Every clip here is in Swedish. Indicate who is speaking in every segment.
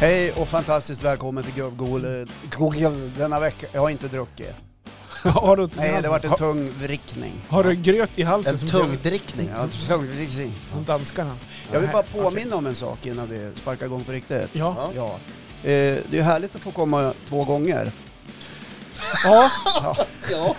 Speaker 1: Hej och fantastiskt välkommen till Gubb-Google Google denna vecka. Jag har inte druckit.
Speaker 2: Har du inte
Speaker 1: Nej, det har varit en
Speaker 2: har,
Speaker 1: tung vrickning.
Speaker 2: har du gröt i halsen
Speaker 3: En
Speaker 2: som
Speaker 3: tungdrickning.
Speaker 1: Ja, tung vrickning.
Speaker 2: som danskarna?
Speaker 1: Jag vill
Speaker 2: Nej,
Speaker 1: bara påminna om en sak innan vi sparkar igång på riktigt.
Speaker 2: Ja.
Speaker 1: Ja. Eh, Det är ju härligt att få komma två gånger.
Speaker 2: ja.
Speaker 3: Ja.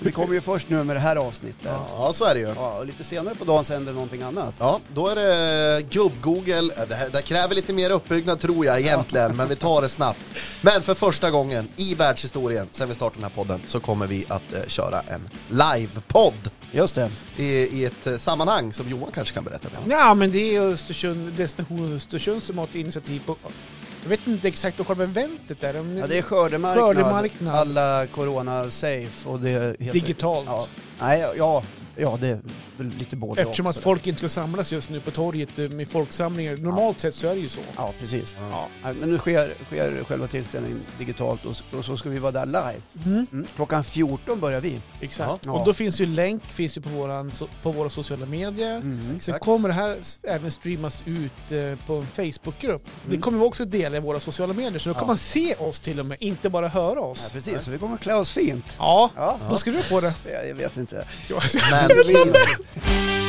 Speaker 1: Vi kommer ju först nu med det här avsnittet.
Speaker 3: ja, så är det ju.
Speaker 1: Ja, och lite senare på dagen så händer någonting annat.
Speaker 3: Ja, då är det gubb-Google. Det, här- det här kräver lite mer uppbyggnad tror jag egentligen, men vi tar det snabbt. Men för första gången i världshistorien, sen vi startade den här podden, så kommer vi att eh, köra en livepodd
Speaker 1: Just det.
Speaker 3: i, i ett eh, sammanhang som Johan kanske kan berätta mer om.
Speaker 2: ja, men det är Östersund, Destination Östersund som har ett initiativ på... Jag vet inte exakt vad själva eventet är. om
Speaker 1: Ja, det är skördemarknad.
Speaker 2: Skördemarknad.
Speaker 1: Alla corona-safe och det heter...
Speaker 2: Digitalt.
Speaker 1: Ja. Nej, ja, ja, det är väl lite både
Speaker 2: Eftersom
Speaker 1: och,
Speaker 2: att
Speaker 1: sådär.
Speaker 2: folk inte ska samlas just nu på torget eh, med folksamlingar. Normalt sett så är det ju så.
Speaker 1: Ja, precis.
Speaker 3: Ja.
Speaker 1: Nej, Äh, Men nu sker, sker själva tillställningen digitalt och, s- och så ska vi vara där live.
Speaker 2: Mm.
Speaker 1: Mm. Klockan 14 börjar vi.
Speaker 2: Exakt.
Speaker 1: Ja.
Speaker 2: Och då finns ju länk finns ju på, våran, so- på våra sociala medier.
Speaker 1: Mm.
Speaker 2: Sen
Speaker 3: Exakt.
Speaker 2: kommer det här s- även streamas ut eh, på en Facebookgrupp. Det
Speaker 1: Mm.
Speaker 2: kommer vi också dela i våra sociala medier, så då
Speaker 1: Ja.
Speaker 2: kan man se oss till och med, inte bara höra
Speaker 1: Ja,
Speaker 2: oss.
Speaker 1: precis, så vi kommer klä oss fint.
Speaker 2: Ja,
Speaker 1: Ja,
Speaker 2: vad ska du på det?
Speaker 1: jag jag vet inte.
Speaker 2: Ja.
Speaker 3: Men,
Speaker 1: Halloween.